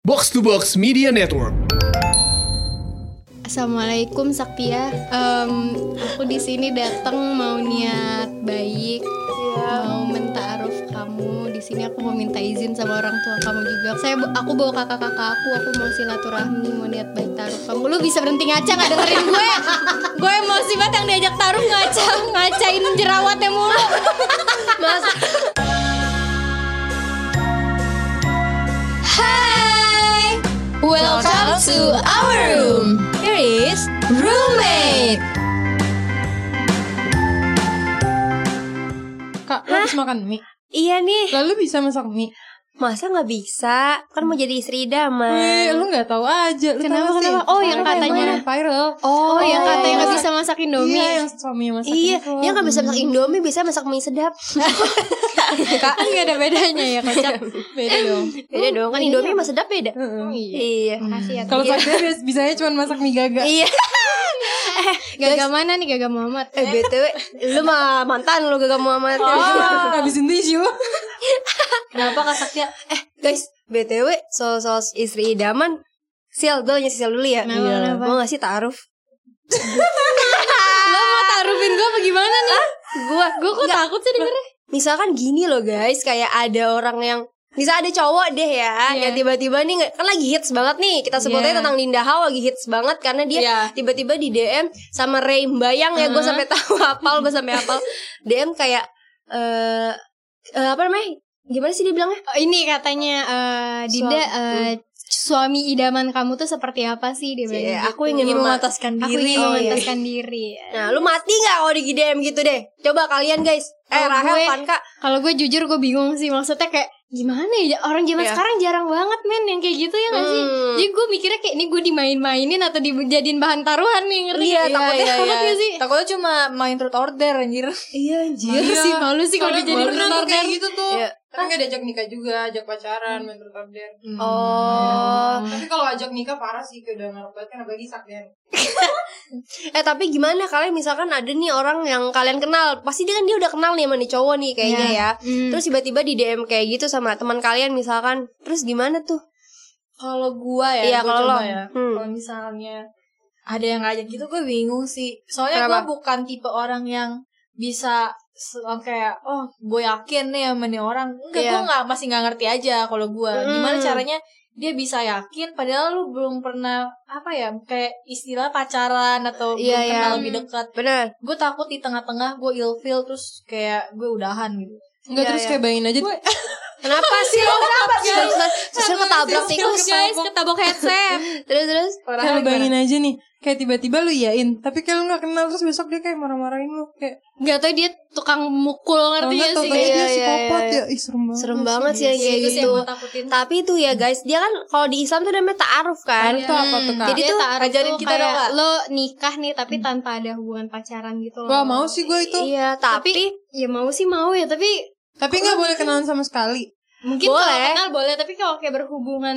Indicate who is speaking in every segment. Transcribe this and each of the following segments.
Speaker 1: Box to Box Media Network.
Speaker 2: Assalamualaikum Saktia. Em, aku di sini datang mau niat baik, mau mentaaruf kamu. Di sini aku mau minta izin sama orang tua kamu juga. Saya aku bawa kakak-kakak aku, aku mau silaturahmi, mau niat baik taruh kamu. Lu bisa berhenti ngaca nggak dengerin gue? gue emosi banget yang diajak taruh ngaca, ngacain jerawatnya mulu. Hai, welcome to our room. Here is roommate.
Speaker 3: Kak, lo habis makan mie.
Speaker 4: Iya nih,
Speaker 3: Lalu bisa masak mie.
Speaker 4: masa nggak bisa? Kan mau jadi istri
Speaker 3: Wih,
Speaker 4: idaman.
Speaker 3: lo nggak tahu aja. Lo
Speaker 2: Kenapa,
Speaker 3: tahu nggak sih?
Speaker 2: kenapa? Oh, yang
Speaker 3: Viral,
Speaker 2: katanya-
Speaker 3: yang viral.
Speaker 2: Oh, yang katanya nggak
Speaker 3: iya.
Speaker 2: bisa ya? masak Indomie.
Speaker 3: Iya, yang suaminya masak
Speaker 4: Iya,
Speaker 3: itu.
Speaker 4: dia nggak bisa masak indomie, bisa masak mie sedap.
Speaker 3: Kak, kan nggak ada bedanya ya, kocak. Beda dong.
Speaker 4: Beda dong, kan indomie sama sedap beda. Iya.
Speaker 2: Makasih ya.
Speaker 3: Kalau sakit bis- bisanya cuma masak mie gaga.
Speaker 4: Iya.
Speaker 2: Gaga mana nih Gaga Muhammad?
Speaker 4: Eh BTW, lu mah mantan lu gagak Muhammad. Oh.
Speaker 3: Ah, habisin tisu.
Speaker 4: Kenapa Kak Saktia? Eh, guys, BTW soal-soal istri idaman Sial, gue nanya sial dulu ya
Speaker 2: Kenapa,
Speaker 3: Iya.
Speaker 2: kenapa?
Speaker 4: Mau gak sih ta'aruf?
Speaker 2: Lo mau tarufin gue apa gimana nih?
Speaker 4: Gue
Speaker 2: Gue kok takut sih dengernya
Speaker 4: misalkan gini loh guys kayak ada orang yang bisa ada cowok deh ya
Speaker 2: Iya.
Speaker 4: yang tiba-tiba nih nggak- kan lagi hits banget nih kita sebutnya
Speaker 3: Iya.
Speaker 4: tentang Linda Hao lagi hits banget karena dia
Speaker 3: Iya.
Speaker 4: tiba-tiba di DM sama Ray Bayang ya gue sampai tahu apal gue sampai apal DM kayak eh eh, apa namanya gimana sih dia bilangnya
Speaker 2: Oh, Ini katanya eh, Dinda
Speaker 4: Suami.
Speaker 2: eh, suami idaman kamu tuh seperti apa sih dia bilang
Speaker 4: Cie,
Speaker 2: gitu.
Speaker 4: Iya, aku ingin mematas
Speaker 2: Aku ingin Oh,
Speaker 4: diri. Oh, iya.
Speaker 2: memantaskan diri ya.
Speaker 4: nah lu mati nggak kalau di DM gitu deh coba kalian guys eh
Speaker 2: Kalau
Speaker 4: Rahel
Speaker 2: gue-
Speaker 4: Panka
Speaker 2: Kalau gue jujur gue bingung sih Maksudnya kayak gimana ya Orang zaman
Speaker 4: Iya.
Speaker 2: sekarang jarang banget men Yang kayak gitu ya gak sih
Speaker 4: Hmm.
Speaker 2: Jadi gue mikirnya kayak Ini gue dimain-mainin Atau dijadiin bahan taruhan nih Ngerti
Speaker 4: Iya,
Speaker 2: nggak?
Speaker 4: takutnya-
Speaker 2: Takut nggak sih
Speaker 3: Takutnya cuma main truth order anjir.
Speaker 4: iya anjir
Speaker 2: Malu sih Malu sih kalau
Speaker 3: Kalau
Speaker 2: dijadiin
Speaker 3: jadi
Speaker 2: bahan
Speaker 3: benar
Speaker 2: taruhan
Speaker 3: kayak gitu tuh.
Speaker 4: Iya.
Speaker 3: Kan nggak diajak nikah juga, ajak pacaran, main truth order.
Speaker 4: oh
Speaker 3: Tapi kalau ajak nikah parah sih kayak udah ngarep banget kan apalagi sakit.
Speaker 4: Eh tapi gimana kalian misalkan ada nih orang yang kalian kenal Pasti dia kan dia udah kenal nih sama nih cowok nih kayaknya
Speaker 2: Iya.
Speaker 4: ya
Speaker 2: Hmm.
Speaker 4: Terus tiba-tiba di DM kayak gitu sama teman kalian misalkan Terus gimana tuh?
Speaker 5: Kalau gua ya,
Speaker 4: Iya,
Speaker 5: gua
Speaker 4: kalau
Speaker 5: coba
Speaker 4: lo.
Speaker 5: ya.
Speaker 4: Hmm.
Speaker 5: Kalau misalnya ada yang ngajak gitu gue bingung sih. Soalnya gue
Speaker 4: Kenapa?
Speaker 5: bukan tipe orang yang bisa se- kayak oh gue yakin nih sama nih orang. Enggak,
Speaker 4: Iya.
Speaker 5: gue nggak masih nggak ngerti aja kalau gua
Speaker 4: Hmm.
Speaker 5: Gimana caranya dia bisa yakin padahal lu belum pernah apa ya kayak istilah pacaran atau belum
Speaker 4: Iya, iya.
Speaker 5: kenal lebih dekat.
Speaker 4: Bener
Speaker 5: Gue takut di tengah-tengah gue ilfeel terus kayak gue udahan gitu.
Speaker 4: Iya,
Speaker 3: Enggak terus
Speaker 4: iya.
Speaker 3: kayak bayangin aja
Speaker 4: Kenapa sih lo? Kenapa sih? Terus terus ketabrak
Speaker 3: Satu
Speaker 4: tikus
Speaker 3: sisi
Speaker 4: guys
Speaker 3: ketabrak.
Speaker 4: Ketabrak headset Terus terus
Speaker 3: Kayak bayangin aja nih Kayak tiba-tiba lu iyain Tapi kayak lu gak kenal Terus besok dia kayak marah-marahin lu Kayak
Speaker 2: Gak tau dia tukang mukul ngerti gak
Speaker 3: tau nggak,
Speaker 2: sih
Speaker 3: tau-taunya
Speaker 2: kayak-
Speaker 3: dia
Speaker 4: Iya, iya,
Speaker 3: psikopat
Speaker 4: iya.
Speaker 3: ya Ih serem banget
Speaker 4: Serem banget sih yang kayak
Speaker 5: Itu sih
Speaker 4: gitu
Speaker 5: yang gue takutin.
Speaker 4: Tapi itu ya guys Dia kan kalau di Islam tuh namanya ta'aruf kan
Speaker 3: Itu apa tuh kak?
Speaker 4: Jadi
Speaker 2: Dia
Speaker 4: tuh
Speaker 2: taruh
Speaker 5: ajarin
Speaker 2: tuh
Speaker 5: kita
Speaker 2: kayak
Speaker 5: dong, Kak.
Speaker 2: Lo nikah nih tapi tanpa ada hubungan pacaran gitu loh
Speaker 3: Wah mau sih gue itu
Speaker 4: Iya tapi
Speaker 2: Tapi ya mau sih mau ya Tapi
Speaker 3: Tapi gak boleh kenalan sama sekali
Speaker 2: mungkin
Speaker 4: Boleh.
Speaker 2: kalau kenal boleh Tapi kalau kayak berhubungan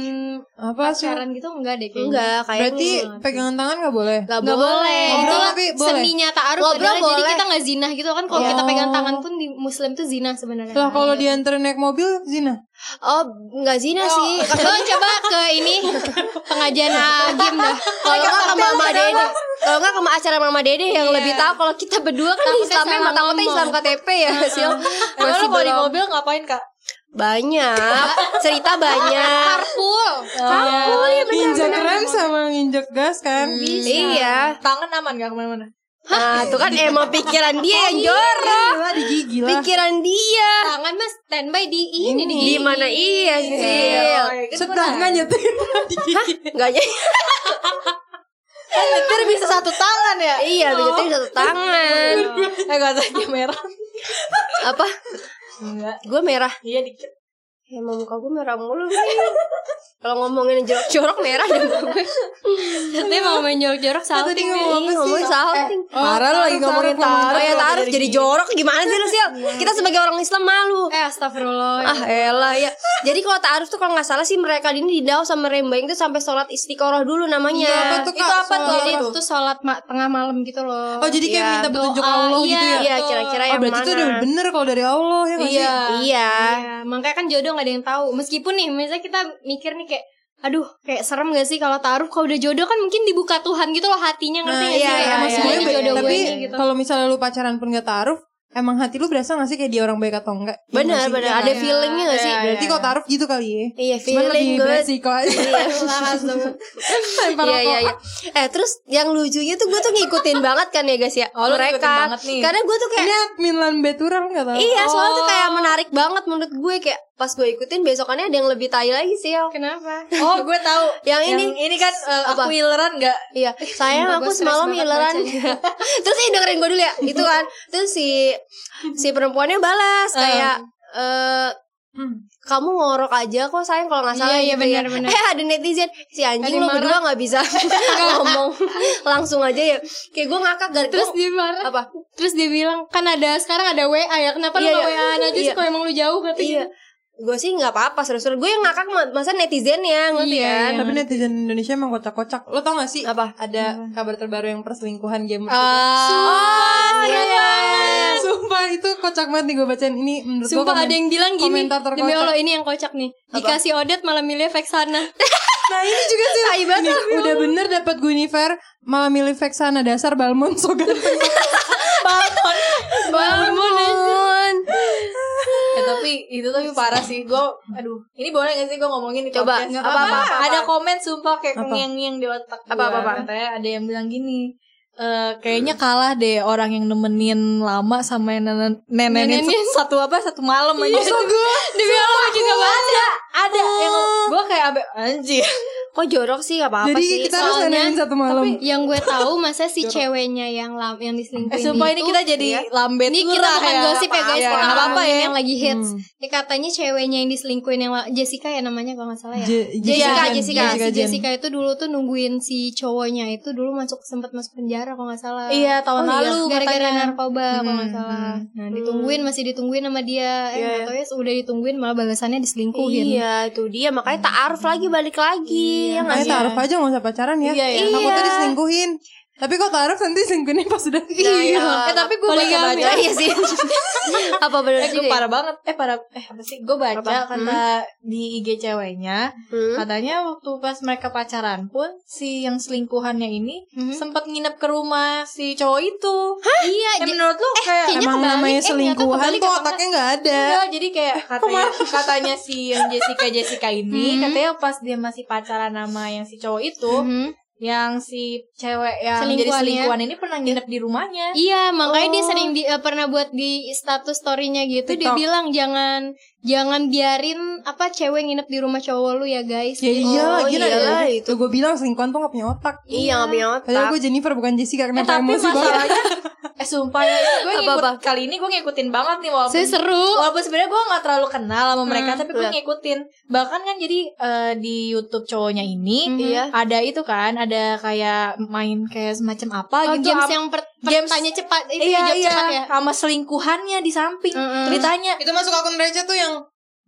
Speaker 3: Apa sih?
Speaker 2: pacaran gitu enggak deh kayaknya
Speaker 4: Enggak kayak
Speaker 3: Berarti pegangan tangan gak boleh?
Speaker 4: Gak
Speaker 2: Nggak boleh.
Speaker 3: Ngobrol
Speaker 4: kan
Speaker 2: Itulah
Speaker 3: tapi boleh.
Speaker 2: seninya ta'aruf
Speaker 4: Ngobrol
Speaker 2: adalah jadi
Speaker 4: boleh.
Speaker 2: kita nggak zina gitu kan kalau
Speaker 3: Iya.
Speaker 2: kita pegang tangan pun di muslim tuh zina sebenarnya. Iya.
Speaker 3: Lah
Speaker 4: Iya.
Speaker 3: kalau dianterin naik mobil Zina
Speaker 4: Oh nggak zina sih
Speaker 2: Lo coba ke ini pengajian agim dah.
Speaker 4: kalau nggak ke Mama Dede kalau nggak ke acara Mama Dede yang lebih tahu kalau kita berdua kan
Speaker 2: Takutnya
Speaker 4: Islamnya
Speaker 2: salah
Speaker 4: mah takutnya
Speaker 2: ngomong.
Speaker 4: Islam KTP ya Sil
Speaker 5: Emang lu
Speaker 4: masih
Speaker 5: kalau di
Speaker 4: belum.
Speaker 5: mobil ngapain kak?
Speaker 4: banyak cerita banyak
Speaker 2: Carpool.
Speaker 5: Kamu
Speaker 3: Nginjak rem sama nginjak gas kan
Speaker 4: Hmm, iya
Speaker 5: Tangan aman gak kemana-mana?
Speaker 4: nah itu kan emang pikiran dia yang jorok
Speaker 3: Gila digigil lah
Speaker 4: pikiran dia
Speaker 2: Tangan mas standby di ini di
Speaker 4: di gitu mana iya Sil
Speaker 5: gitu
Speaker 3: Sedangkan nyetir digigil
Speaker 4: nggak jadi
Speaker 5: Nyetir bisa satu tangan ya?
Speaker 4: iya begitu satu tangan
Speaker 5: Eh gak tanya merah
Speaker 4: apa
Speaker 5: Enggak
Speaker 4: gue merah
Speaker 5: Iya dikit
Speaker 4: emang muka gue merah mulu kalau ngomongin jorok-jorok merah deh gue
Speaker 2: Dia mau main jorok-jorok salting
Speaker 3: dia
Speaker 2: nih.
Speaker 3: ngomong
Speaker 4: Ih, ngomongin salting
Speaker 5: Eh,
Speaker 3: Parah lu lagi ngomongin
Speaker 4: Oh ya
Speaker 3: iya,
Speaker 4: taruh jadi jorok gimana sih lu Sil? Kita sebagai orang Islam malu.
Speaker 2: Eh astagfirullah
Speaker 4: Ah elah ya. Jadi kalau taaruf tuh kalau nggak salah sih mereka ini di Dao sama Rembang itu sampai sholat istiqoroh dulu namanya.
Speaker 3: Iya, apa tuh,
Speaker 4: itu
Speaker 3: Kak?
Speaker 4: apa tuh?
Speaker 3: Sholat
Speaker 2: Jadi
Speaker 3: apa
Speaker 2: itu tuh sholat ma- tengah malam gitu loh
Speaker 3: Oh jadi kayak
Speaker 4: Iya.
Speaker 3: minta petunjuk
Speaker 2: Doa,
Speaker 3: Allah gitu
Speaker 2: iya.
Speaker 3: ya
Speaker 4: Iya kira-kira
Speaker 3: Oh
Speaker 4: yang
Speaker 3: berarti
Speaker 4: mana?
Speaker 3: itu udah bener kalau dari Allah ya nggak sih?
Speaker 4: Iya.
Speaker 2: Ya, makanya kan jodoh gak ada yang tahu. Meskipun nih, misalnya kita mikir nih kayak aduh kayak serem gak sih kalau taruh kalau udah jodoh kan mungkin dibuka Tuhan gitu loh hatinya ngerti
Speaker 3: Nah,
Speaker 2: gak sih
Speaker 4: iya,
Speaker 2: kayak
Speaker 4: iya,
Speaker 2: emosi gue
Speaker 4: iya, iya,
Speaker 2: ini
Speaker 4: iya.
Speaker 2: jodoh gue
Speaker 3: tapi
Speaker 2: ini gitu
Speaker 3: kalau misalnya lu pacaran pun gak taruh, emang hati lu berasa gak sih kayak dia orang baik atau enggak? Iya
Speaker 4: Bener,
Speaker 3: nggak sih?
Speaker 4: bener.
Speaker 3: Iya
Speaker 4: Ada
Speaker 3: kan?
Speaker 4: feelingnya gak sih?
Speaker 5: Iya,
Speaker 3: Berarti kalau taruh gitu kali ya?
Speaker 4: Iya,
Speaker 3: Cuman lebih
Speaker 4: feeling Iya. good.
Speaker 3: beresiko aja. Lempar
Speaker 4: Iya
Speaker 3: rokok.
Speaker 4: iya iya. Eh terus yang lucunya tuh gue tuh ngikutin banget kan ya guys ya.
Speaker 5: Oh, lu ngikutin
Speaker 4: mereka.
Speaker 5: banget nih.
Speaker 4: Karena gue tuh kayak
Speaker 3: Ini admin lan Betura lu gak tau?
Speaker 4: iya soalnya tuh kayak
Speaker 5: Oh.
Speaker 4: menarik banget menurut gue kayak pas gue ikutin besokannya ada yang lebih tai lagi sih ya.
Speaker 2: kenapa
Speaker 5: Oh, gue tahu.
Speaker 4: Yang ini.
Speaker 5: ini kan eh,
Speaker 4: Apa?
Speaker 5: aku ileran enggak?
Speaker 4: Iya, sayang
Speaker 2: Sumpah,
Speaker 4: aku
Speaker 2: gua stres
Speaker 4: semalam
Speaker 2: banget
Speaker 4: hileran. Terus ini dengerin gue dulu ya, itu kan. Terus si si perempuannya balas kayak eh kamu ngorok aja kok sayang kalau nggak salah
Speaker 2: Iya, iya,
Speaker 4: gitu ya.
Speaker 2: benar-benar.
Speaker 4: Eh ada netizen si anjing
Speaker 2: Ada
Speaker 4: lo
Speaker 2: yang
Speaker 4: berdua nggak bisa ngomong langsung aja ya. Kayak gue ngakak gara
Speaker 2: terus
Speaker 4: gua-
Speaker 2: dia marah
Speaker 4: apa?
Speaker 2: terus dia bilang kan ada sekarang ada WA ya kenapa
Speaker 4: Iya,
Speaker 2: lu nggak
Speaker 4: iya.
Speaker 2: WA aja
Speaker 4: Iya.
Speaker 2: sih kalau emang lu jauh berarti
Speaker 4: Iya. Gue sih nggak apa-apa serius-serius. Gue yang ngakak ma- masa netizen ya ngerti
Speaker 2: Iya,
Speaker 4: kan?
Speaker 3: Tapi netizen Indonesia emang kocak-kocak. Lo tau gak sih?
Speaker 4: Apa?
Speaker 3: Ada kabar terbaru yang perselingkuhan gamer.
Speaker 4: Ah, Oh, iya.
Speaker 3: Sumpah itu kocak banget nih gue bacain ini menurut gue
Speaker 2: Sumpah ada yang bilang gini
Speaker 3: komentar terkocak.
Speaker 2: Demi Allah ini yang kocak nih Dikasih Odet malah milih Vexana
Speaker 3: Nah ini juga sih
Speaker 4: Tai banget,
Speaker 3: Ini, Udah bener dapat Guinevere Malah milih Vexana Dasar Balmond so ganteng
Speaker 4: Bangun.
Speaker 5: Eh, tapi itu tapi parah sih. Gue aduh, ini boleh gak sih gue ngomongin di
Speaker 4: Coba,
Speaker 5: podcast?
Speaker 4: apa, apa, apa, apa?
Speaker 5: Ada komen sumpah kayak
Speaker 3: Apa?
Speaker 5: ngiang-ngiang di otak
Speaker 4: Apa,
Speaker 5: gua.
Speaker 4: apa, apa?
Speaker 5: Katanya ada yang bilang gini. eh, kayaknya kalah deh orang yang nemenin lama sama yang nenen- nenenin,
Speaker 2: Nenenin.
Speaker 5: satu apa satu malam
Speaker 3: Iya,
Speaker 5: aja.
Speaker 2: Demi Allah juga
Speaker 5: ada, ada yang
Speaker 3: Oh.
Speaker 5: gue kayak abe anjir.
Speaker 4: Kok jorok sih gak apa-apa
Speaker 3: Jadi
Speaker 4: sih.
Speaker 3: kita harus
Speaker 2: soalnya-
Speaker 3: nenenin satu malam
Speaker 2: Tapi yang gue tahu masa si ceweknya yang lam yang diselingkuhin
Speaker 5: Eh, sumpah ini
Speaker 2: itu-
Speaker 5: kita jadi lambe
Speaker 2: ini kita bukan gosip ya guys, kita
Speaker 5: apa apa
Speaker 2: ngomongin
Speaker 5: ya.
Speaker 2: yang lagi hits. Ya, katanya ceweknya yang diselingkuhin yang la- Jessica ya namanya kalau nggak salah ya.
Speaker 3: Je-
Speaker 2: Jessica,
Speaker 3: Jen.
Speaker 2: Jessica, si
Speaker 3: Jen.
Speaker 2: Jessica itu dulu tuh nungguin si cowoknya itu dulu masuk sempat masuk penjara kalau nggak salah.
Speaker 5: Iya
Speaker 2: Oh,
Speaker 5: tahun
Speaker 2: iya.
Speaker 5: lalu
Speaker 2: gara-gara
Speaker 5: katanya.
Speaker 2: narkoba kalau nggak salah. Nah, ditungguin masih ditungguin sama dia. Eh, nggak tahu ya udah ditungguin malah balasannya diselingkuhin.
Speaker 4: Iya itu dia makanya ta'aruf lagi balik lagi ya nggak
Speaker 3: Makanya
Speaker 4: sih?
Speaker 3: taruh aja gak usah pacaran ya
Speaker 5: Iya, iya.
Speaker 3: Aku
Speaker 4: Iya.
Speaker 3: tadi selingkuhin Tapi kok taruh nanti selingkuhinnya pas udah
Speaker 5: Eh tapi gue baca baca
Speaker 4: iya sih. Apa benar
Speaker 5: Eh, gue
Speaker 4: sih?
Speaker 5: parah banget. Hmm? Eh, parah. Eh, apa sih? Gue baca kata di IG ceweknya, katanya waktu pas mereka pacaran pun si yang selingkuhannya ini sempat nginep ke rumah si cowok itu.
Speaker 2: Iya,
Speaker 5: Eh, menurut lu kayak
Speaker 2: kayaknya
Speaker 3: Emang
Speaker 2: kebalik,
Speaker 3: namanya
Speaker 2: eh, ternyata
Speaker 3: selingkuhan
Speaker 2: kebalik
Speaker 3: kok
Speaker 2: apa
Speaker 3: otaknya gak ada
Speaker 5: Enggak, Iya. Eh, jadi kayak katanya katanya si yang Jessica Jessica ini katanya pas dia masih pacaran sama yang si cowok itu,
Speaker 2: Mhm.
Speaker 5: yang si cewek yang jadi
Speaker 2: Selingkuhannya.
Speaker 5: selingkuhan ini pernah nginep di rumahnya.
Speaker 2: Iya, makanya dia sering di- eh, pernah buat di status story-nya gitu dia
Speaker 3: TikTok.
Speaker 2: bilang jangan jangan biarin apa cewek nginep di rumah cowok lu ya guys.
Speaker 3: Ya iya
Speaker 4: Oh,
Speaker 3: gila
Speaker 4: iyalah,
Speaker 3: ya
Speaker 4: itu.
Speaker 3: Tuh gue bilang selingkuhan tuh gak punya otak
Speaker 4: Iya nggak punya otak.
Speaker 3: Padahal gue Jennifer bukan Jessica
Speaker 5: Eh,
Speaker 3: Kenapa
Speaker 5: tapi
Speaker 3: emosi banget
Speaker 5: masalahnya eh sumpah ya gue
Speaker 4: Apa,
Speaker 5: ngikut
Speaker 4: apa?
Speaker 5: kali ini gue ngikutin banget nih walaupun
Speaker 2: Saya seru.
Speaker 5: walaupun sebenarnya gue nggak terlalu kenal sama mereka tapi gue
Speaker 4: iya.
Speaker 5: ngikutin bahkan kan jadi eh, di YouTube cowoknya ini
Speaker 4: Iya.
Speaker 5: ada itu kan ada kayak main kayak semacam apa
Speaker 2: Oh,
Speaker 5: gitu
Speaker 2: games
Speaker 5: apa-
Speaker 2: yang per-
Speaker 5: games-
Speaker 2: pertanya cepat itu
Speaker 5: iya
Speaker 2: jawab
Speaker 5: iya
Speaker 2: cepat ya.
Speaker 5: sama selingkuhannya di samping
Speaker 2: Mm-mm.
Speaker 5: Terus ditanya
Speaker 3: Itu masuk akun Reja tuh yang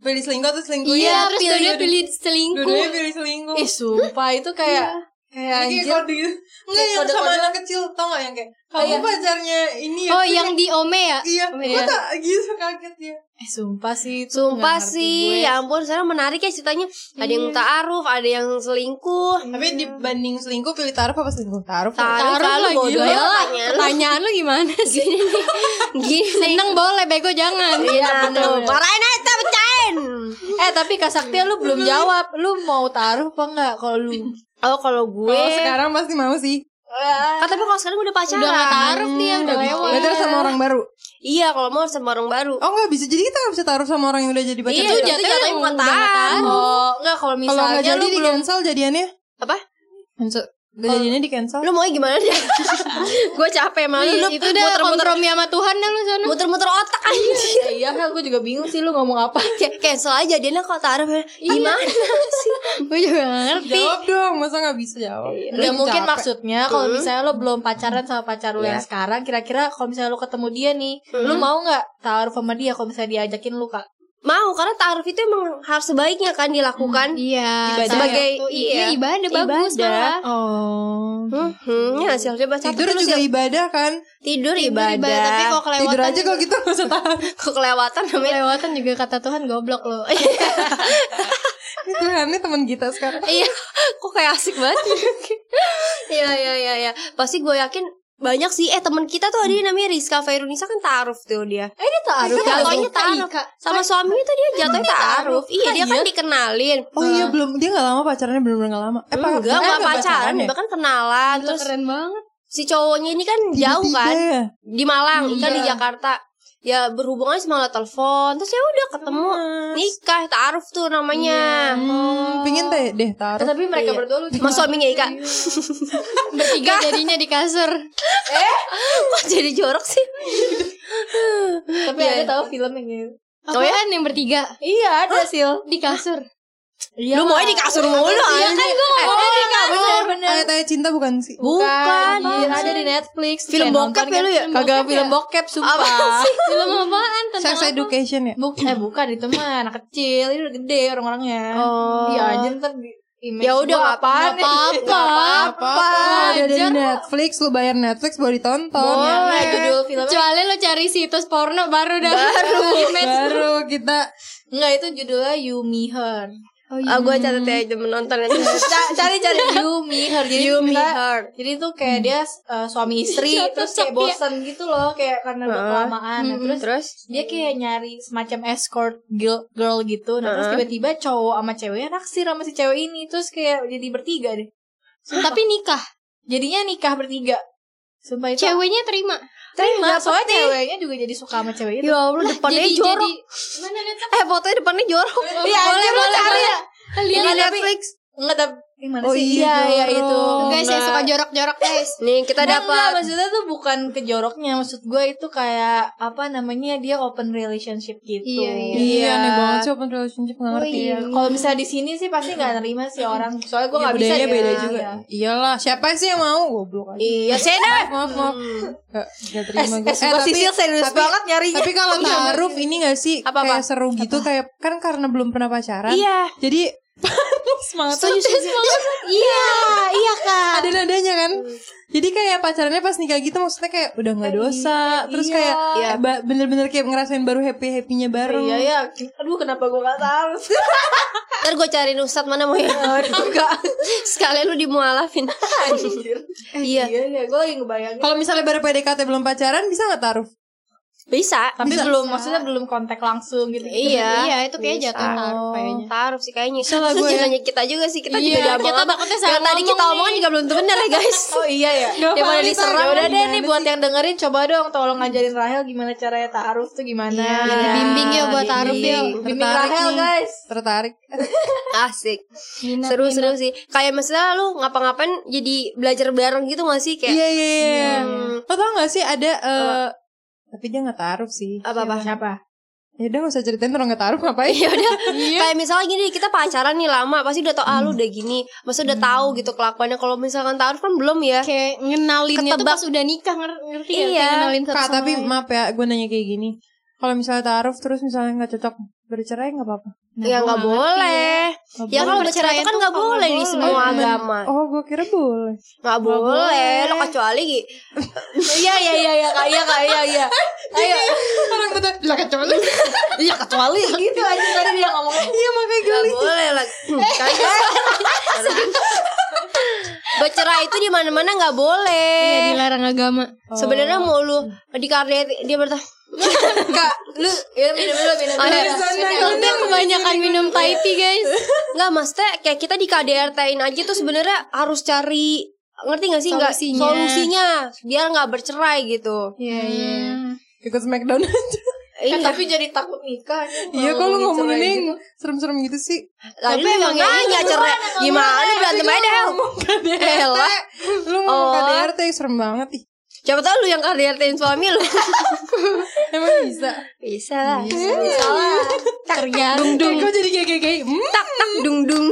Speaker 3: Pilih selingkuh atau selingkuh
Speaker 2: Iya, terus
Speaker 3: pilih-
Speaker 2: dia pilih selingkuh.
Speaker 3: Dua-duanya pilih selingkuh
Speaker 5: ih sumpah itu kayak kayak
Speaker 3: Ini
Speaker 5: anjir
Speaker 3: kayak kode gitu. Enggak yang sama
Speaker 5: kode-kode.
Speaker 3: anak kecil Tau gak yang kayak Kamu
Speaker 5: iya.
Speaker 3: pacarnya ini ya
Speaker 2: Oh,
Speaker 3: Terus
Speaker 2: yang di Ome ya?
Speaker 3: Iya
Speaker 2: Oh,
Speaker 3: Gue
Speaker 2: iya.
Speaker 3: tak gitu kaget ya
Speaker 5: eh sumpah sih itu
Speaker 4: Sumpah
Speaker 5: nggak ngerti gue.
Speaker 4: sih, ya ampun sekarang menarik ya ceritanya. Ada yang ta'aruf, ada yang selingkuh.
Speaker 3: Tapi dibanding selingkuh Pilih taruh apa selingkuh? Taruh
Speaker 4: Ta'aruf
Speaker 2: Taruh
Speaker 4: lalu
Speaker 2: lagi, Iya, lah.
Speaker 4: bodoh ya pertanyaan lu.
Speaker 2: Pertanyaan lu gimana sih?
Speaker 4: Gini.
Speaker 2: Seneng boleh, bego jangan.
Speaker 4: Iya bener. Marahin aja kita pecahin.
Speaker 5: eh tapi Kak Saktia lu belum jawab lu mau taruh apa enggak kalau lu
Speaker 4: Oh kalau gue.
Speaker 3: Kalau sekarang pasti mau sih Hmm,
Speaker 4: Ah, tapi kalau sekarang gue udah pacaran. Hmm.
Speaker 2: Udah gak taruh dia, udah lewat.
Speaker 3: Better sama orang baru
Speaker 4: Iya kalau mau sama orang baru.
Speaker 3: Oh enggak bisa Jadi kita gak bisa taruh sama orang yang udah jadi pacar
Speaker 4: Iya,
Speaker 3: kita.
Speaker 4: itu jatuhnya
Speaker 2: emang
Speaker 4: bukan
Speaker 2: udah gak
Speaker 4: ta'aruf.
Speaker 5: oh enggak kalau
Speaker 3: Kalau
Speaker 5: misalnya
Speaker 3: gak jadi
Speaker 5: lu
Speaker 3: di
Speaker 5: belum
Speaker 3: cancel jadiannya
Speaker 4: Apa?
Speaker 3: Cancel Gak jadiannya di cancel
Speaker 4: Lu mau gimana deh? gue capek malu
Speaker 2: Iya,
Speaker 4: lu
Speaker 2: itu udah kompromi sama Tuhan dah lu sono.
Speaker 4: muter-muter otak aja.
Speaker 5: Ya iya kan gue juga bingung sih lu ngomong apa
Speaker 4: Kayak cancel aja dia kalau ya. Iya. taruh gimana sih?
Speaker 2: Gue juga gak ngerti.
Speaker 3: Jawab dong Masa gak bisa jawab
Speaker 5: Nggak
Speaker 3: Lu
Speaker 5: mungkin
Speaker 3: capek.
Speaker 5: maksudnya kalau misalnya lo belum pacaran sama pacar lo yang sekarang Kira-kira kalau misalnya lo ketemu dia nih Lo mau gak taruh sama dia kalau misalnya diajakin lo kak
Speaker 4: Mau karena taruh itu emang harus sebaiknya kan dilakukan.
Speaker 2: Iya,
Speaker 4: Ibadah. Sebagai-
Speaker 2: satu-
Speaker 4: iya.
Speaker 2: iya, ibadah bagus
Speaker 4: Ibadah.
Speaker 2: malah.
Speaker 5: Oh
Speaker 4: Hmm, ya sih harusnya baca
Speaker 3: Tidur juga ibadah kan
Speaker 4: tidur
Speaker 2: Ibadah,
Speaker 4: ibadah.
Speaker 2: Tapi kalau kelewatan Iya.
Speaker 3: Tidur aja kalau
Speaker 2: juga-
Speaker 3: gitu gak usah taruh
Speaker 4: kelewatan namanya
Speaker 2: kelewatan juga kata Tuhan goblok lo.
Speaker 3: Tuhannya teman kita sekarang.
Speaker 4: Iya, kok kayak asik banget. ya? Iya, iya, iya, iya. Pasti gue yakin banyak sih eh teman kita tuh ada yang namanya Rizka Fairunisa kan taaruf tuh dia. Eh dia taaruf. Jatuhnya taaruf. Sama suaminya tuh dia jatuhnya taaruf. Iya, dia kan dikenalin.
Speaker 3: Oh iya belum dia nggak lama pacarannya belum nggak lama. Eh pa-
Speaker 4: Enggak, enggak
Speaker 3: pacaran ya,
Speaker 4: pacaran, kan
Speaker 3: ya?
Speaker 4: bahkan kenalan. Terus
Speaker 2: keren banget.
Speaker 4: si cowoknya ini kan jauh
Speaker 3: Tiba-tiba
Speaker 4: kan
Speaker 3: ya?
Speaker 4: di Malang,
Speaker 3: Iya.
Speaker 4: kan di Jakarta. Ya berhubungan sama lo telepon, terus ya udah ketemu nikah taaruf tuh namanya. Nah,
Speaker 3: Hmm, pingin teh deh taruh.
Speaker 5: Tapi mereka berdua lucu.
Speaker 4: Mas suaminya Ika
Speaker 2: Bertiga jadinya di kasur.
Speaker 4: Kok jadi jorok sih
Speaker 5: Tapi
Speaker 4: Iya.
Speaker 5: ada tahu film yang gitu.
Speaker 2: Oh ya? yang bertiga
Speaker 5: Iya, ada Sil.
Speaker 2: di kasur.
Speaker 5: Iya.
Speaker 4: Lu mau di kasur mulu
Speaker 5: Iya
Speaker 4: anjing.
Speaker 5: kan gue ngomong di kasur. Bener.
Speaker 3: Ayat ayat cinta bukan sih?
Speaker 4: Bukan,
Speaker 5: Iya, ada di Netflix.
Speaker 4: Film
Speaker 5: Kayak
Speaker 4: bokep
Speaker 5: nonton
Speaker 4: ya lu ya?
Speaker 5: kan. Kagak film bokep sumpah.
Speaker 2: Film apaan? Tentang
Speaker 3: Sex education ya.
Speaker 5: Buk- eh bukan itu mah anak kecil, ini udah gede orang-orangnya.
Speaker 4: Oh.
Speaker 5: Iya aja ntar di image
Speaker 4: Ya udah
Speaker 5: gua
Speaker 4: nggak apa-apa.
Speaker 5: nih? Nggak apa-apa.
Speaker 3: Apa? Ada di Netflix, lu bayar Netflix boleh ditonton.
Speaker 5: Ya, nah, judul filmnya
Speaker 2: Kecuali lo cari situs porno baru dah. Baru.
Speaker 3: Baru kita
Speaker 5: Enggak itu judulnya You Me Her
Speaker 4: Ah, gue catat ya jam menonton
Speaker 5: Ca- Cari-cari You Me Her Jadi
Speaker 4: You me
Speaker 5: kita-
Speaker 4: her
Speaker 5: Jadi tuh kayak dia eh, suami istri Terus kayak bosen gitu loh Kayak karena udah kelamaan Nah, Terus
Speaker 4: Hmm, Terus
Speaker 5: dia kayak nyari semacam escort girl, girl gitu Nah terus tiba-tiba cowok sama ceweknya naksir sama si cewek ini Terus kayak jadi bertiga deh
Speaker 2: Tapi nikah.
Speaker 5: Jadinya nikah bertiga Sumpah itu
Speaker 2: Ceweknya terima.
Speaker 5: terima Soalnya ceweknya juga jadi suka sama cewek itu
Speaker 4: Ya Allah depannya
Speaker 2: jadi-
Speaker 4: jorok
Speaker 2: jadi-
Speaker 4: Eh fotonya depannya jorok Iya
Speaker 5: boleh,
Speaker 4: anjir lu
Speaker 5: boleh,
Speaker 4: cari
Speaker 5: boleh.
Speaker 4: ya Di
Speaker 5: Lihat, tapi-
Speaker 4: Netflix
Speaker 5: Enggak tapi Gimana
Speaker 3: Oh,
Speaker 5: sih?
Speaker 3: iya,
Speaker 5: iya,
Speaker 3: jorok.
Speaker 5: itu
Speaker 2: Guys, saya suka jorok-jorok
Speaker 4: Iya,
Speaker 2: guys.
Speaker 4: Nih kita
Speaker 5: Enggak, enggak,
Speaker 4: dapat
Speaker 5: maksudnya tuh bukan ke joroknya maksud gue itu kayak apa namanya dia open relationship gitu
Speaker 2: Iya, iya.
Speaker 3: Iya, aneh banget sih open relationship nggak ngerti. ya.
Speaker 5: Iya, kalau misalnya di sini sih pasti nggak nerima sih orang soalnya gue
Speaker 3: Iya,
Speaker 5: nggak bisa
Speaker 3: budayanya
Speaker 5: ya.
Speaker 3: beda juga.
Speaker 5: Iya.
Speaker 3: Iyalah, siapa sih yang mau goblok aja.
Speaker 4: Iya Sena
Speaker 3: Maaf, maaf. Gak, gak
Speaker 5: Eh,
Speaker 3: terima gue.
Speaker 5: eh, sumpah, Sisil serius banget nyarinya.
Speaker 3: Tapi kalau taaruf ini gak sih
Speaker 4: Apa-apa?
Speaker 3: kayak seru gitu kayak kan karena belum pernah pacaran.
Speaker 4: Iya
Speaker 3: Jadi semangat tuh
Speaker 4: Iya Iya kak
Speaker 3: ada nadanya kan. Jadi kayak pacarannya pas nikah gitu maksudnya kayak udah nggak dosa. Terus kayak
Speaker 4: Iya.
Speaker 3: eh, ba- bener-bener kayak ngerasain baru happy happynya bareng.
Speaker 5: Iya ya, aduh kenapa gue gak tahu?
Speaker 4: Ntar gue cariin ustad mana mau ya Enggak Sekalian lu dimualafin Iya
Speaker 5: Iya iya, gue lagi ngebayangin.
Speaker 3: Kalau misalnya baru PDKT belum pacaran bisa nggak taruh?
Speaker 4: Bisa
Speaker 5: Tapi belum, maksudnya belum kontak langsung gitu.
Speaker 4: Iya
Speaker 2: Iya, itu kayak jatuh taruh kayaknya.
Speaker 4: Taruh sih kayaknya
Speaker 3: Salah
Speaker 4: Terus
Speaker 3: gue ya.
Speaker 4: jangan nanya kita juga sih Kita
Speaker 2: Iya,
Speaker 4: juga udah
Speaker 2: kita
Speaker 4: omongan
Speaker 2: takutnya salah
Speaker 4: Yang tadi
Speaker 2: ngomong
Speaker 4: kita omongan juga belum tentu benar ya guys
Speaker 5: Oh iya ya.
Speaker 3: Gak
Speaker 5: Dia boleh
Speaker 3: paham,
Speaker 5: diserang.
Speaker 3: Tar.
Speaker 5: Udah deh
Speaker 3: Gimana
Speaker 5: nih buat yang dengerin coba dong tolong ngajarin Rahel gimana caranya taaruf tuh gimana.
Speaker 4: Iya.
Speaker 2: Nah, Bimbing ya buat taruh ya.
Speaker 5: Bimbing Rahel
Speaker 3: nih.
Speaker 5: guys.
Speaker 3: Tertarik.
Speaker 4: Asik Seru-seru sih Kayak maksudnya lu ngapa-ngapain jadi belajar bareng gitu gak sih Kayak
Speaker 3: Iya iya iya.
Speaker 4: Hmm,
Speaker 3: Lo tau gak sih ada eh, tapi dia nggak taruh sih.
Speaker 4: Apa-apa
Speaker 5: Siapa?
Speaker 3: Ya udah gak usah ceritain orang nggak taruh ngapain.
Speaker 4: ya udah kayak misalnya gini kita pacaran nih lama pasti udah tau ah lu udah gini maksudnya udah tahu gitu kelakuannya kalau misalkan taruh kan belum ya
Speaker 2: Kayak ngenalinnya tuh
Speaker 4: Ketebak.
Speaker 2: pas udah nikah nger- ngerti ya?
Speaker 4: Iya.
Speaker 2: Kayak ngenalin satu
Speaker 3: Kak
Speaker 2: sama
Speaker 3: tapi
Speaker 2: lain.
Speaker 3: maaf ya gue nanya kayak gini. Kalau misalnya taruh terus misalnya nggak cocok bercerai nggak apa-apa.
Speaker 4: ya nggak boleh ya kalau bercerai itu kan nggak boleh di semua agama
Speaker 3: Oh gue kira boleh.
Speaker 4: Ah. nggak boleh lo kecuali gi-
Speaker 5: Iya iya iya iya kak iya kak iya iya. Ayo
Speaker 3: Orang betul lah kecuali.
Speaker 5: iya kecuali gitu aja tadi dia ngomong.
Speaker 3: Iya makanya gue.
Speaker 4: nggak boleh lah Kayaknya- bercerai itu di mana mana nggak boleh
Speaker 5: Iya,
Speaker 2: Kayak dilarang agama.
Speaker 5: Oh.
Speaker 4: sebenarnya mau lu di karya dia bertanya
Speaker 5: Kak lu ya minum dulu minum dulu.
Speaker 2: Iya, Udah kebanyakan minum Thai tea guys.
Speaker 4: Enggak mas teh kayak kita di KDRT-in aja tuh sebenarnya harus cari ngerti gak sih nggak
Speaker 2: Solusinya.
Speaker 4: solusinya biar nggak bercerai gitu
Speaker 2: Iya iya.
Speaker 3: Ikut smackdown aja.
Speaker 5: Eh,
Speaker 4: iya
Speaker 5: tapi jadi takut nikah. ya.
Speaker 3: Iya kok lu
Speaker 5: Ngomongin
Speaker 3: ngomongin
Speaker 5: cerai
Speaker 3: yang
Speaker 5: gitu.
Speaker 3: serem-serem gitu sih.
Speaker 4: tadi lu emang nanya cerai gimana berantem aja deh Eh, lah
Speaker 3: Lu
Speaker 4: Oh.
Speaker 3: ngomong KDRT serem banget ih.
Speaker 4: coba tau lu yang KDRT-in suami lu
Speaker 3: Emang bisa.
Speaker 4: bisa lah
Speaker 2: Iya.
Speaker 4: bisa lah
Speaker 2: Tergantung.
Speaker 3: Dung. Gue eh, jadi kayak kayak kayak. Hmm?
Speaker 4: tak tak dung dung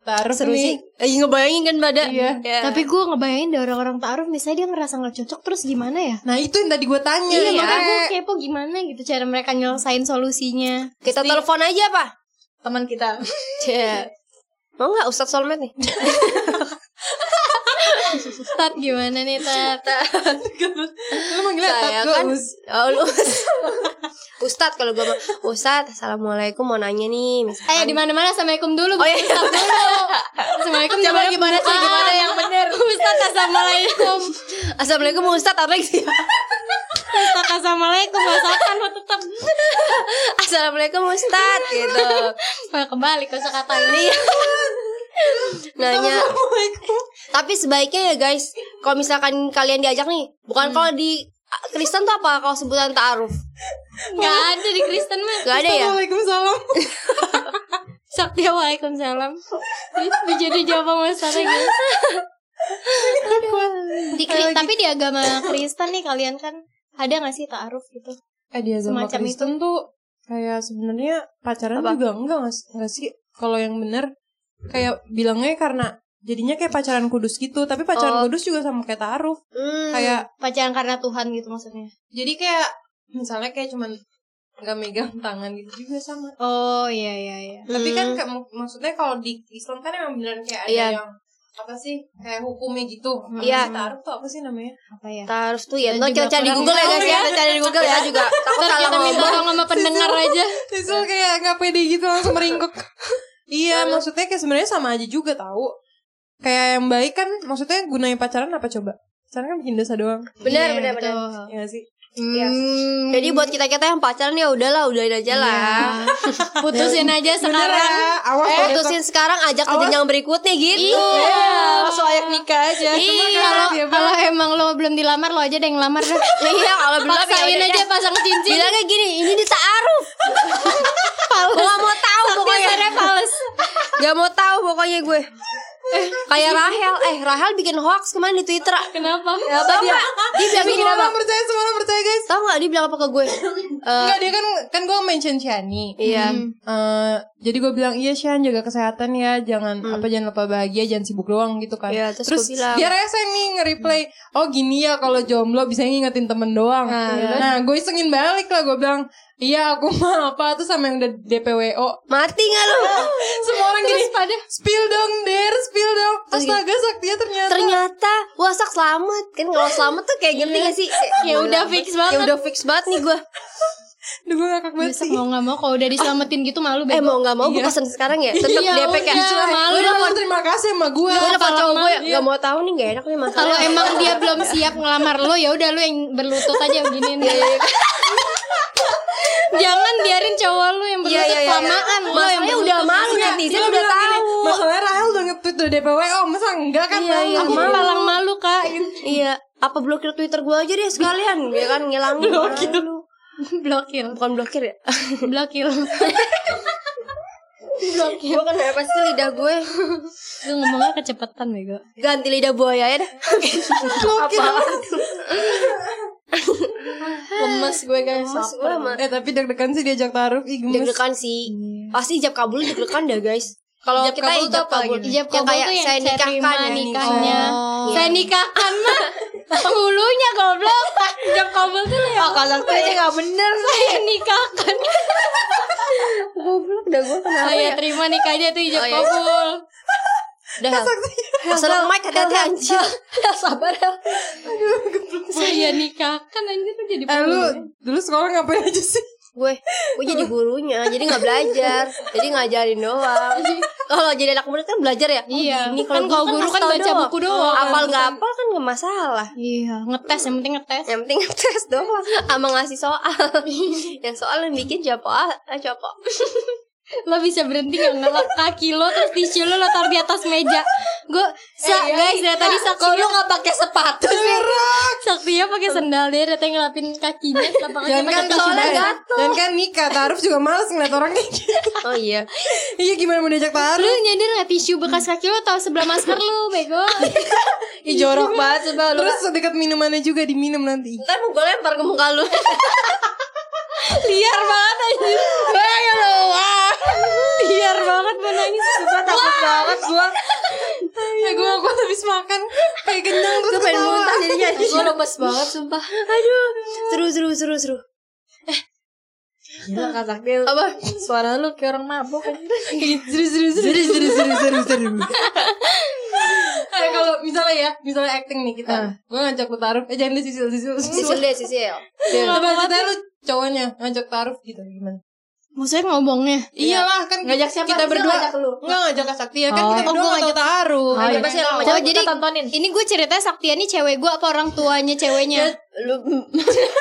Speaker 3: Taruh
Speaker 4: seru
Speaker 3: nih.
Speaker 4: sih eh, ngebayangin kan pada
Speaker 3: Iya.
Speaker 2: Tapi gue ngebayangin deh orang-orang taruh misalnya dia ngerasa nggak cocok terus gimana ya?
Speaker 3: Nah itu yang tadi gue tanya.
Speaker 2: Iya,
Speaker 3: ya.
Speaker 2: makanya gue
Speaker 3: Kayak-
Speaker 2: kepo gimana gitu cara mereka nyelesain solusinya.
Speaker 4: kita telepon aja apa
Speaker 5: Teman kita.
Speaker 4: Cie. mau nggak Ustadz Solmed nih
Speaker 2: Tat gimana nih Tat?
Speaker 3: Lu manggilnya
Speaker 4: Saya
Speaker 3: Tat gue
Speaker 4: kan-
Speaker 3: Us.
Speaker 4: Oh, lu. Ustad kalau gue Ustad, assalamualaikum mau nanya nih. misalkan.
Speaker 2: Ayo Eh, di mana mana assalamualaikum dulu.
Speaker 4: Oh, iya.
Speaker 2: Ustaz dulu. Assalamualaikum
Speaker 4: Coba gimana sih gimana yang benar?
Speaker 2: Ustaz assalamualaikum.
Speaker 4: Assalamualaikum Ustad apa sih?
Speaker 2: Assalamualaikum masakan lo tetap.
Speaker 4: Assalamualaikum Ustad gitu. Iya.
Speaker 2: Wah, kembali ke kata ini.
Speaker 4: Nanya. Eh, Tapi sebaiknya ya guys, kalau misalkan kalian diajak nih,
Speaker 2: Hmm.
Speaker 4: bukan kalau di Kristen tuh apa kalau sebutan ta'aruf?
Speaker 2: Enggak ada di Kristen mah.
Speaker 4: Gak ada ya?
Speaker 3: Waalaikumsalam.
Speaker 2: Sakti Waalaikumsalam. Itu jadi jawaban masalah gitu. Di, Kri- tapi di agama Kristen nih kalian kan ada gak sih ta'aruf gitu?
Speaker 3: Eh dia agama
Speaker 2: Semacam
Speaker 3: Kristen tuh kayak sebenarnya pacaran juga enggak enggak, enggak sih kalau yang bener kayak bilangnya karena jadinya kayak pacaran kudus gitu tapi pacaran kudus juga sama kayak taruh
Speaker 4: Hmm.
Speaker 3: kayak
Speaker 2: Oh. Pacaran karena Tuhan gitu maksudnya.
Speaker 3: jadi kayak misalnya kayak cuman nggak megang tangan gitu juga sama
Speaker 2: Oh iya iya iya.
Speaker 3: tapi
Speaker 4: Hmm.
Speaker 3: kan kayak mak- maksudnya kalau di Islam kan emang beneran kayak ada
Speaker 4: Iya.
Speaker 3: yang apa sih kayak hukumnya gitu Apa
Speaker 4: Iya.
Speaker 3: sih taruh tuh apa sih namanya
Speaker 2: Apa ya?
Speaker 4: Ta'aruf tuh ya,
Speaker 2: Dan
Speaker 4: ntar
Speaker 2: juga
Speaker 4: kita cari di
Speaker 2: kurang
Speaker 4: Google ya
Speaker 2: tahu
Speaker 4: guys ya,
Speaker 2: ya.
Speaker 4: kita cari di Google ya juga. Takut
Speaker 2: Ntar
Speaker 4: salah
Speaker 2: kita minta
Speaker 4: ngomong.
Speaker 2: tolong sama pendengar aja.
Speaker 3: Sisul kayak nggak pede gitu langsung meringkuk. iya, maksudnya kayak sebenarnya sama aja juga tahu. Kayak yang baik kan, maksudnya gunanya pacaran apa coba? Pacaran kan bikin dosa doang,
Speaker 4: Benar,
Speaker 2: Iya,
Speaker 4: benar, benar.
Speaker 2: betul.
Speaker 3: ya nggak sih?
Speaker 4: Iya. Jadi buat kita-kita yang pacaran ya udahlah, udahin aja lah.
Speaker 2: Putusin aja sekarang.
Speaker 3: Iya kan? awas
Speaker 4: Nah, Eh, putusin sekarang ajak ke jenjang berikutnya gitu.
Speaker 3: langsung ayak nikah aja.
Speaker 4: Iya,
Speaker 2: Ih, kalau kalau emang lo belum dilamar lo aja deh yang lamar dah.
Speaker 4: Ya iya kalau belum ya
Speaker 2: Paksain
Speaker 4: udah
Speaker 2: aja
Speaker 4: deh.
Speaker 2: pasang cincin.
Speaker 4: Bilangnya gini, ini di ta'aruf. gue gak mau tahu pokoknya.
Speaker 2: Males.
Speaker 4: Gak mau tahu pokoknya gue. Kayak Rahel, eh Rahel bikin hoax kemarin di Twitter.
Speaker 2: Kenapa?
Speaker 4: Ya, apa dia? Dia bilang gini
Speaker 3: Semua
Speaker 4: apa?
Speaker 3: orang percaya, semua orang percaya guys.
Speaker 4: Tahu gak dia bilang apa ke gue? Eh,
Speaker 3: Enggak, dia kan kan gue mention Shani.
Speaker 4: iya.
Speaker 3: Eh, jadi gue bilang iya Shan jaga kesehatan ya jangan apa jangan lupa bahagia jangan sibuk doang gitu kan
Speaker 4: Hmm. Iya, terus gua bilang.
Speaker 3: dia rese nih nge-replay oh gini ya kalau jomblo bisa ngingetin temen doang nah, gue isengin balik lah gue bilang iya aku mah apa tuh sama yang udah DPWO
Speaker 4: Mati gak lu?
Speaker 3: Kan semua orang gini pada spill dong der spill dong astaga saktia ternyata
Speaker 4: Ternyata Wasak selamat Kan kalau selamat tuh kayak gini gak sih Ya udah fix banget Ya udah fix banget nih gue
Speaker 3: Duh, gue ngakak banget
Speaker 4: Iya,
Speaker 2: Besok
Speaker 3: sih
Speaker 2: mau nggak mau kalau udah diselamatin gitu malu
Speaker 4: Eh
Speaker 2: bego.
Speaker 4: mau gak mau gue pesen sekarang ya Tetep
Speaker 2: Iya,
Speaker 4: DP kayak
Speaker 2: udah, malu.
Speaker 4: Gue
Speaker 3: Lu
Speaker 4: nelfon
Speaker 3: udah terima kasih sama gue
Speaker 4: Gue nelfon cowok gue
Speaker 3: Iya.
Speaker 4: Gak ya mau tahu nih gak enak nih Iya,
Speaker 2: Kalau
Speaker 4: masalah
Speaker 2: emang dia belum siap ngelamar lo ya udah lo yang berlutut aja begini
Speaker 4: Iya,
Speaker 2: nih. Jangan biarin cowok lo yang
Speaker 4: Iya
Speaker 2: berlutut
Speaker 4: iya iya
Speaker 2: kelamaan lo yang
Speaker 4: Masalahnya udah
Speaker 2: berlutut.
Speaker 4: malu
Speaker 3: Enggak,
Speaker 4: netizen
Speaker 3: dia
Speaker 4: udah
Speaker 3: bilang gini,
Speaker 4: tahu
Speaker 3: Masalahnya Rahel udah nge-tweet udah DPWO Masa enggak kan
Speaker 4: Iya, iya,
Speaker 2: Aku
Speaker 4: malu.
Speaker 2: palang malu kak.
Speaker 4: Iya Apa blokir Twitter gue aja deh sekalian Ya kan ngilangin
Speaker 2: Iya.
Speaker 4: Blokir
Speaker 2: Blokir,
Speaker 4: Bukan blokir ya
Speaker 2: blokir.
Speaker 4: Blokir Gue kenapa sih ya, lidah gue
Speaker 2: Lu ngomongnya kecepatan bego.
Speaker 4: Ganti lidah buaya ya dah Blokir
Speaker 5: Lemes gue guys.
Speaker 4: Mas gue sama
Speaker 3: Eh tapi deg-degan sih diajak taruh Ih gemes
Speaker 4: deg-degan sih
Speaker 2: Iya.
Speaker 4: pasti ijab kabul deg-degan dah guys kalau
Speaker 5: Ijab
Speaker 4: Oh, kita
Speaker 5: kabul tuh
Speaker 4: ijab
Speaker 5: apa
Speaker 4: kabul
Speaker 5: gitu?
Speaker 2: Ijab kabul
Speaker 4: kayak
Speaker 2: tuh yang
Speaker 4: saya nikahkan
Speaker 2: terima
Speaker 4: ya.
Speaker 2: nikahnya.
Speaker 4: Oh.
Speaker 2: Saya nikahkan mah penghulunya goblok. Ijab kabul tuh lo yang
Speaker 4: kalau tuh aja nggak bener
Speaker 2: saya nikahkan.
Speaker 4: goblok dah gue kenapa
Speaker 2: Saya
Speaker 4: ya
Speaker 2: Oh iya, terima nikahnya tuh ijab
Speaker 4: Oh, iya.
Speaker 2: kabul.
Speaker 4: dah masalah mic hati-hati anjir sabar ya
Speaker 2: Saya nikahkan anjir tuh jadi
Speaker 3: Eh lu
Speaker 2: penghulu.
Speaker 3: dulu sekolah ngapain aja sih?
Speaker 4: gue gue jadi gurunya jadi nggak belajar jadi ngajarin doang kalau jadi anak murid kan belajar ya Oh,
Speaker 2: Iya,
Speaker 4: gini.
Speaker 2: kan kalau guru
Speaker 4: kasih
Speaker 2: kan
Speaker 4: tau
Speaker 2: baca buku doang.
Speaker 4: apal nggak apal kan nggak masalah
Speaker 2: Iya, ngetes yang penting ngetes.
Speaker 4: yang penting tes doang sama ngasih soal yang soal yang bikin eh, siapa siapa
Speaker 2: Lo bisa berhenti nggak ngelak kaki lo terus tisu lo lo taruh di atas meja. Gue
Speaker 4: Iya,
Speaker 2: sa guys dari tadi
Speaker 4: kalau
Speaker 2: sakti
Speaker 4: lu nggak pakai sepatu sih
Speaker 2: saktinya pakai sendal dia datang ngelapin kakinya
Speaker 3: Jangan
Speaker 2: lapangannya
Speaker 3: kan
Speaker 2: pakai tisu.
Speaker 4: soalnya
Speaker 3: Dan-
Speaker 4: gatel.
Speaker 3: Dan kan nikah Taruh juga males ngeliat orang kayak gitu
Speaker 4: oh iya
Speaker 3: Iya gimana mau diajak
Speaker 2: Lu
Speaker 3: taruh
Speaker 2: nyadar nggak tisu bekas kaki lo tahu sebelah masker lu bego?
Speaker 4: Ih jorok banget sebab lu Iya,
Speaker 3: Terus sedekat minumannya juga diminum nanti
Speaker 4: Ntar mau gue lempar ke muka lu Liar banget anjir Ayo lu wah. Liar banget gue nangis Gue takut banget gue iya.
Speaker 3: Ya gue aku habis makan Kayak kenyang terus
Speaker 4: Gue pengen
Speaker 3: ketawa.
Speaker 4: muntah jadinya
Speaker 5: Gue lemes banget sumpah.
Speaker 4: Aduh Seru seru seru seru
Speaker 5: Gila Kak Sakti.
Speaker 4: Apa?
Speaker 5: Suara lu kayak orang mabuk.
Speaker 3: Seru seru seru seru seru seru seru Eh, Kalau misalnya ya ya misalnya acting nih kita
Speaker 5: Ah.
Speaker 3: gue ngajak lu taruh eh jangan di sisi sisi
Speaker 4: Sisil deh, Sisil.
Speaker 3: coba kita lu cowoknya ngajak taruh gitu gimana
Speaker 2: Maksudnya ngomongnya
Speaker 3: iyalah kan
Speaker 5: Ngajak siapa?
Speaker 3: kita
Speaker 5: Sisil
Speaker 3: berdua
Speaker 5: ngajak lu.
Speaker 3: nggak ngajak Kak sakti ya kan
Speaker 5: Oh.
Speaker 3: kita
Speaker 2: Oh,
Speaker 3: berdua
Speaker 2: gua
Speaker 3: ngajak taruh
Speaker 5: Oh, iya.
Speaker 4: Coba Sil,
Speaker 2: Oh,
Speaker 4: sama cowok
Speaker 2: jadi-
Speaker 5: Kita tontonin.
Speaker 2: Ini gue ceritanya Saktia nih cewek gue apa orang tuanya ceweknya?
Speaker 4: Ya, lu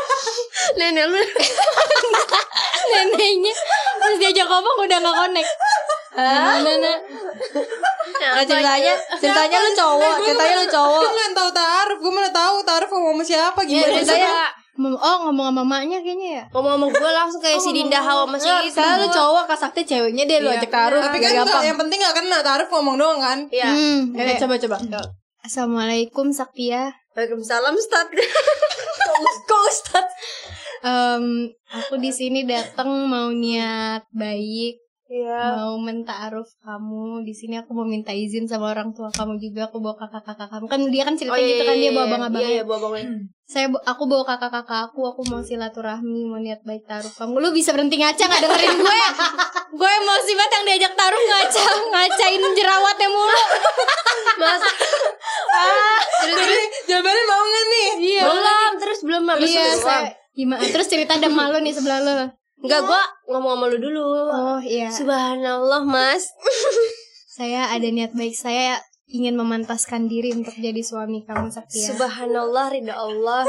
Speaker 4: nenek lu
Speaker 2: Neneknya Terus diajak ngomong udah gak connect Gimana?
Speaker 4: nah, ceritanya ceritanya lu cowok ceritanya lu cowok
Speaker 3: Kan lu yang tahu taruh gue mana tahu taruh ngomong sama siapa gimana
Speaker 4: ceritanya
Speaker 2: Mem- Oh ngomong sama mamanya kayaknya ya?
Speaker 4: ngomong sama gue langsung kayak si Dinda Hawa sama si
Speaker 5: Nggak, misalnya lu cowok, Kak Sakti ceweknya deh lu
Speaker 3: Iya.
Speaker 5: ajak taruh.
Speaker 3: tapi kan
Speaker 5: Gak
Speaker 3: nggak-
Speaker 5: gampang.
Speaker 3: yang penting gak kena taruh ngomong doang kan
Speaker 4: Iya.
Speaker 2: Hmm.
Speaker 5: Oke, coba coba.
Speaker 2: Assalamualaikum Saktia
Speaker 4: Waalaikumsalam Ustaz.
Speaker 5: Kok Ustaz?
Speaker 2: Em, Aku di sini datang mau niat baik
Speaker 5: Iya.
Speaker 2: mau mentaaruf kamu di sini aku mau minta izin sama orang tua kamu juga aku bawa kakak kakak kamu kan dia kan cerita gitu kan dia bawa Hmm. abang abang
Speaker 4: Oh, Iya, iya, bawa abangnya.
Speaker 2: saya bu- aku bawa kakak kakak aku aku mau silaturahmi mau niat baik taruh kamu lu bisa berhenti ngaca nggak dengerin gue ya? gue emosi banget yang diajak taruh ngaca ngacain jerawatnya mulu
Speaker 4: Masa
Speaker 3: jadi jawabannya mau nggak nih
Speaker 2: iya
Speaker 4: belum, terus belum habis
Speaker 2: iya
Speaker 4: itu doang.
Speaker 2: saya gimana terus cerita ada malu nih sebelah lo
Speaker 4: Enggak, gua ngomong sama lu dulu.
Speaker 2: oh iya
Speaker 4: Subhanallah, Mas.
Speaker 2: saya ada niat baik saya ingin memantaskan diri untuk jadi suami kamu Saktia
Speaker 4: Subhanallah ridha Allah.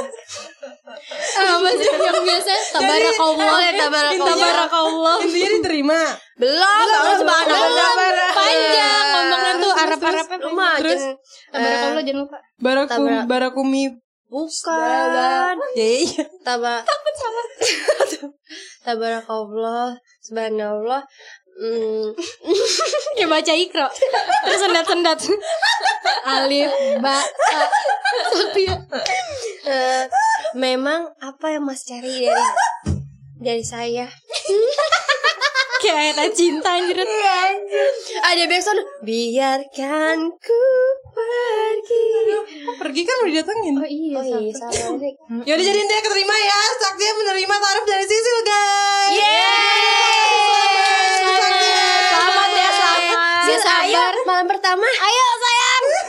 Speaker 2: apa sih yang biasa
Speaker 4: Tabarakallah ya tabarakallah.
Speaker 3: intinya diterima
Speaker 4: Belum, belum subhanallah.
Speaker 2: panjang ngomongnya tuh
Speaker 3: Terus,
Speaker 2: arab arab
Speaker 4: Lu mah
Speaker 3: Terus?
Speaker 4: jangan-
Speaker 2: tabarakallah jangan lupa
Speaker 3: barakum
Speaker 4: Tabrak.
Speaker 3: barakumi
Speaker 4: bukan.
Speaker 3: ya iya
Speaker 4: Taba takut salah. Tabarakallah, subhanallah. Hmm,
Speaker 2: kayak baca ikro terus sendat sendat alif ba ta. Saktia.
Speaker 4: eh, memang apa yang Mas cari dari dari saya?
Speaker 2: kayak ayat ayat cinta anjir
Speaker 4: Ada backsound biarkan ku pergi.
Speaker 3: pergi kan udah datengin
Speaker 2: oh iya
Speaker 4: Oh iya, salah.
Speaker 3: Yaudah jadi intinya keterima ya Sakti menerima tarif dari Sisil guys
Speaker 4: Yeay! Selamat ya, selamat.
Speaker 2: Sis,
Speaker 4: Sis, ayo malam pertama. Ayo sayang.